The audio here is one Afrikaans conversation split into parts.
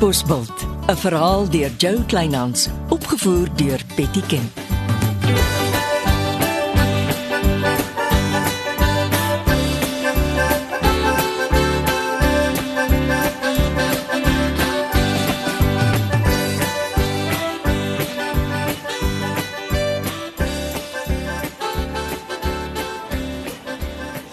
Bosbult, 'n verhaal deur Jo Kleinhans, opgevoer deur Betty Ken.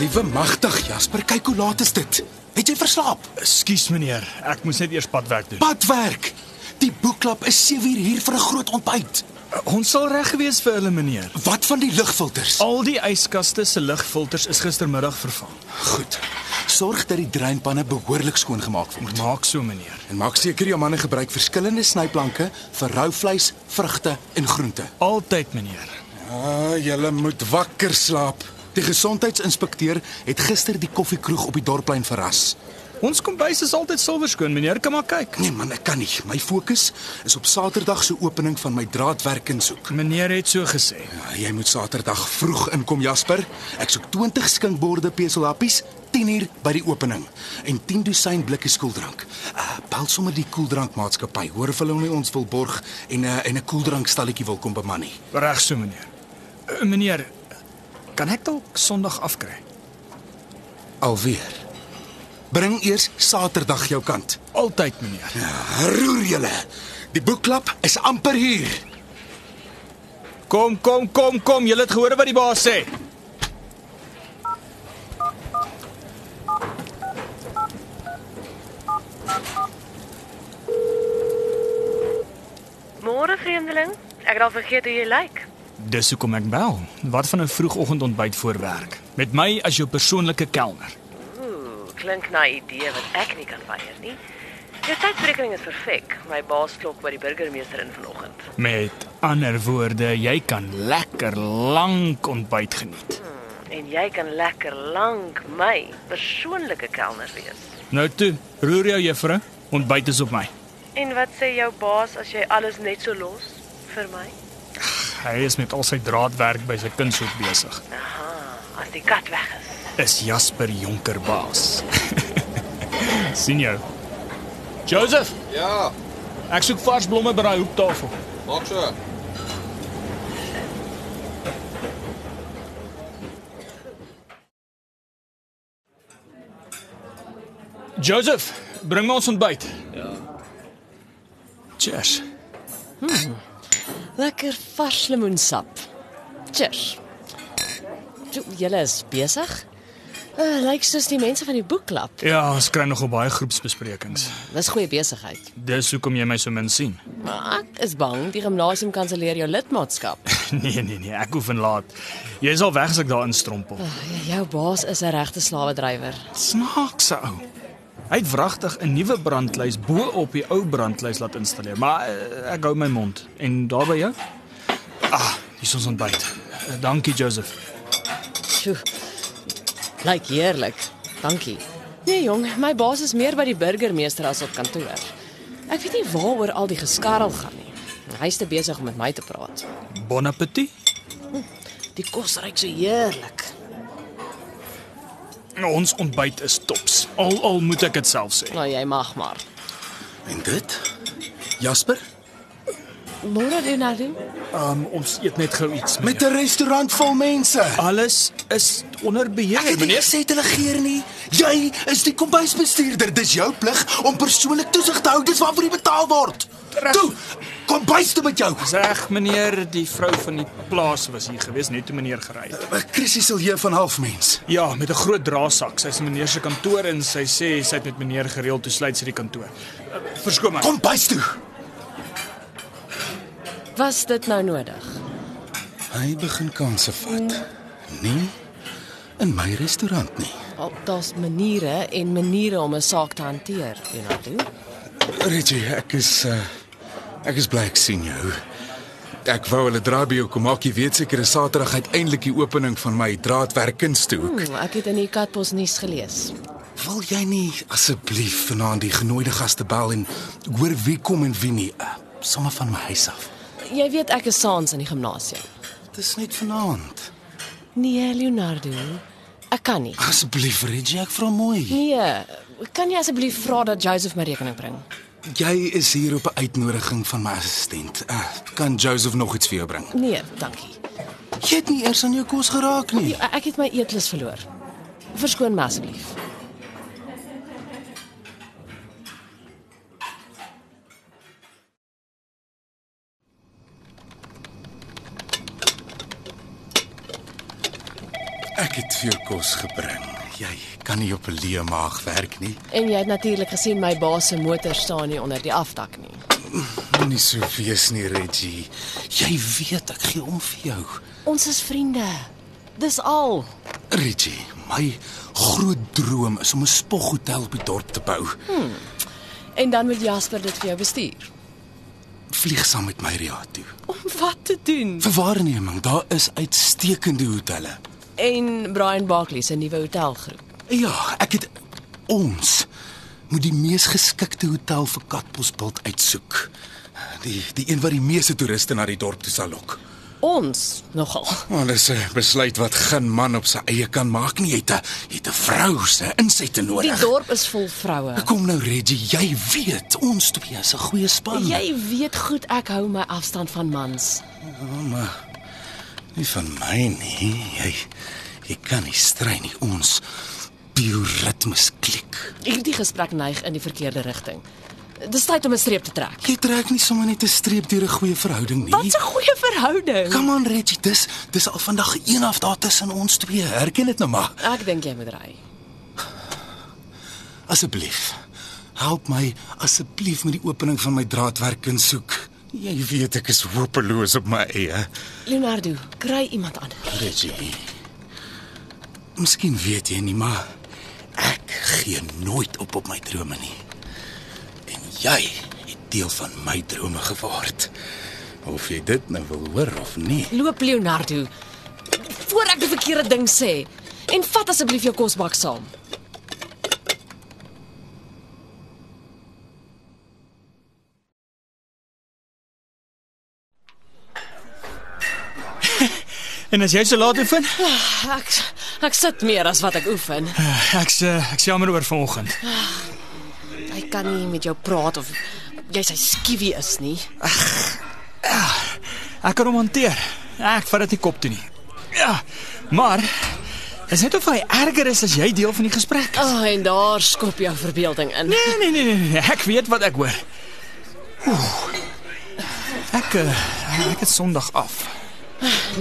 Liewe magtig Jasper, kyk hoe laat is dit? Het jy verslaap? Ekskuus meneer, ek moes net eers padwerk doen. Padwerk. Die boekklap is 7uur hier vir 'n groot ontbyt. Ons sal reg gewees vir hulle meneer. Wat van die lugfilters? Al die yskaste se ligfilters is gistermiddag vervang. Goed. Sorg dat die dreinpanne behoorlik skoongemaak word. Maak so meneer. En maak seker jou manne gebruik verskillende snyplanke vir rou vleis, vrugte en groente. Altyd meneer. Ah, julle moet wakker slaap. Die gesondheidsinspekteur het gister die koffiekroeg op die dorpplein verras. Ons kombuis is altyd silwerskoon meneer, kan maar kyk. Nee man, ek kan nie. My fokus is op Saterdag se opening van my draadwerk en soek. Meneer het so gesê. Ja, Jy moet Saterdag vroeg inkom, Jasper. Ek soek 20 skinkborde peselhappies 10uur by die opening en 10 dosyn blikkies koeldrank. Uh, bel sommer die koeldrankmaatskappy. Hoor of hulle nie ons wil borg en 'n uh, en 'n koeldrankstalletjie wil kom beman nie. Reg so meneer. Eh, Meneer, kan ek dalk Sondag afkry? Alweer. Bring eers Saterdag jou kant. Ja, Altyd meneer. Roer julle. Die boekklap is amper hier. Kom, kom, kom, kom. Julle het gehoor wat die baas sê. Môre vreemdeling, ek het al vergeet hoe jy lyk. Dis hoekom ek bel. Wat van 'n vroegoggendontbyt voor werk? Met my as jou persoonlike kelner. Ooh, klink na 'n idee wat ek nie kan weier nie. Jou tydberekening is perfek. My baas klok by die burgemeester in vanoggend. Met ander woorde, jy kan lekker lank ontbyt geniet. En jy kan lekker lank my persoonlike kelner wees. Nou toe, roer jou juffrou, ontbyt is op my. En wat sê jou baas as jy alles net so los vir my? Hy is met al sy draadwerk by sy kunshoek besig. Aha, as die kat weg is. Is Jasper Jonker baas. sien jou. Joseph, Ja, ek soek vars blomme by daai hoektafel. maak so. Joseph, bring my ons ontbyt. Ja. Cheers. Lekker vars lemoensap. Cheers. Toe, julle is besig? Uh, lyk soos die mense van die boekklap. Ja, ons kry nogal baie groepsbesprekings. Dis goeie besigheid. Dis hoekom jy my so min sien. Maar ek is bang die gimnasium kanselleer jou lidmaatskap. nee, nee, nee, ek oefen laat. Jy is al weg as ek daarin strompel. Ag, jou baas is 'n regte slawedrywer. Snaakse ou. Hy het wragtig 'n nuwe brandlys bo op die ou brandlys laat installeer, maar eh, ek hou my mond. En daarby jou? Ah, dis ons ontbyt. Eh, Dankie Joseph. Sjoe. Lyk heerlik. Dankie. Nee jong, my baas is meer by die burgemeester as op kantoor. Ek weet nie waaroor al die geskarrel gaan nie. Hy's te besig om met my te praat. Bon appétit. Die er kos ryk so heerlik. Ons ontbyt is tops. Al al moet ek dit self sê. Nou jy mag maar. En dit? Jasper, Môre nou doen hulle. Um, ons eet net gou iets. met meneer. 'n restaurant vol mense. alles is onder beheer, Ek het nie meneer. gesê dit regeer nie. Jy is die kombuisbestuurder. Dis jou plig om persoonlik toesig te hou. Dis waarvoor jy betaal word. Reg. Toe, kombuis toe met jou. Reg, meneer, die vrou van die plaas was hier gewees net toe meneer gery het. Chris is al hier van halfmens. Ja, met 'n groot draasak. Sy's in meneer se kantoor en sy sê sy het met meneer gereël toe sluit sy die kantoor. Eh, Verskoon my. Kombuis toe. Was dit nou nodig? Hy begin kanse vat. Nee, in my restaurant nie. Al daar's maniere en maniere om 'n saak te hanteer, Leonardo. Reggie, ek is uh, ek is bly ek sien jou. Ek wou hulle draai by jou kom maak. Jy weet seker is Saterdag uiteindelik die opening van my draadwerk kunsthoek. Hm, ek het in die Katbos nuus gelees. Wil jy nie asseblief vanaand die genooide gaste bel en hoor wie kom en wie nie? Uh, sommer van my huis af. Jy weet ek is saans in die gimnasium. Dit is net vanaand. Nee, Leonardo. Ek kan nie. Asseblief Reggie, ek vra mooi. Nee, kan jy asseblief vra dat Joseph my rekening bring? Jy is hier op 'n uitnodiging van my assistent. Uh, kan Joseph nog iets vir jou bring? Nee, dankie. Jy het nie eers aan jou kos geraak nie. Ja, Ek het my eetlus verloor. Verskoon my asseblief. Ek het vir jou kos gebring. Jy kan nie op 'n leë maag werk nie. En jy het natuurlik gesien my baas se motor staan nie onder die afdak nie. Moenie so wees nie, Reggie. Jy weet ek gee om vir jou. Ons is vriende. Dis al. Reggie, my groot droom is om 'n spoghotel op die dorp te bou. En dan moet Jasper dit vir jou bestuur. Vlieg saam met my Riad toe. Om wat te doen? Vir waarneming, daar is uitstekende hotelle. En Brian Barkley se nuwe hotelgroep. Ja, ek het ons moet die mees geskikte hotel vir Katbosveld uitsoek. Die die een wat die meeste toeriste na die dorp toe sal lok. Ons nogal. Maar dis 'n besluit wat geen man op sy eie kan maak nie. Jy het 'n jy het 'n vrou se insig te Die nodig. dorp is vol vroue. Kom nou Reggie, jy weet ons twee is 'n goeie span. Jy weet goed ek hou my afstand van mans. maar nie van my nie. Jy jy kan nie strei nie. Ons bioritmes klik. Hierdie gesprek neig in die verkeerde rigting. Dis tyd om 'n streep te trek. Jy trek nie sommer net 'n streep deur 'n goeie verhouding nie. Wat 'n goeie verhouding. Kom aan Reggie, dis dis al vandag een af daar tussen ons twee. Herken dit nou maar. Ek dink jy moet ry. Asseblief. Help my asseblief met die opening van my draadwerk en soek. Jy weet ek is hopeloos op my eie. Leonardo, kry iemand anders. Reggie. Miskien weet jy nie, maar ek gee nooit op op my drome nie. En jy het deel van my drome geword. Of jy dit nou wil hoor of nie. Loop Leonardo. Voor ek die verkeerde ding sê. En vat asseblief jou kosbak saam. En as jy so laat oefen, Ek ek sit meer as wat ek oefen. ek's eh, ek's jammer oor vanoggend. Hy kan nie met jou praat of jy sy skiewie is nie. Ek kan hom hanteer. Ek vat dit nie kop toe nie. Ja, maar is dit of hy erger is as jy deel van die gesprek? Ag, oh, en daar skop jou verbeelding in. Nee, nee, nee, nee, nee, ek weet wat ek hoor. Oeh. Ek eh, ek het Sondag af.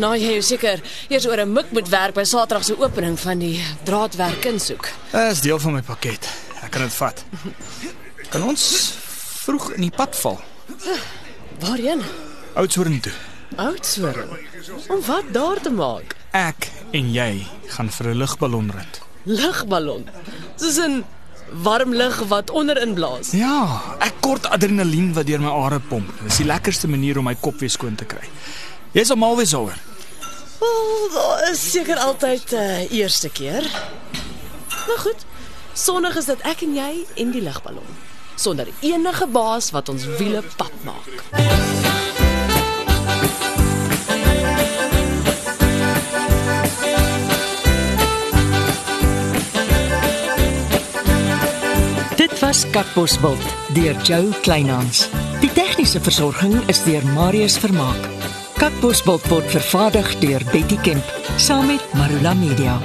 Nou jy is seker eers oor 'n mik moet werk by Saterdag se opening van die draadwerk insoek. Dit is deel van my pakket. Ek kan dit vat. Kan ons vroeg in die pad val? Waarheen? Oudtshoorn toe. Oudtshoorn. Om wat daar te maak? Ek en jy gaan vir 'n ligballonrit. Lugballon. Soos 'n warm lug wat onderin blaas. Ja, ek kort adrenalien wat deur my are pomp. Dis die lekkerste manier om my kop weer skoon te kry. Jy's almal weer soor. Wel, daar is seker altyd 'n uh, eerste keer. Nou goed. Sonnig is dit ek en jy en die lugballon sonder enige baas wat ons wiele pap maak. Dit was Katbosveld deur Jo Kleinhans. Die tegniese versorging is deur Marius Vermaak. Katbosveld word vervaardig deur Betty Kemp saam met Marula Media.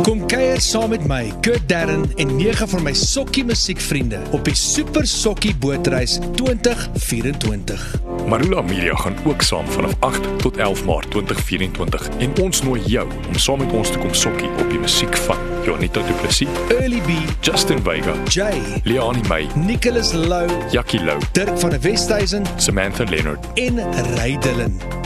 Kom kuier saam met my, Kurt Darren en nege van my sokkie musiekvriende op die Super Sokkie Bootreis 2024. Marula Media gaan ook saam vanaf 8 tot 11 Maart 2024 en ons nooi jou om saam met ons te kom sokkie op die musiek van Jonita Du Plessis, Early B, Justin Vega, Jay, Leoni May, Nicholas Lou, Jackie Lou, Dirk van der Westhuizen Samantha Leonard. en Ray Dillon.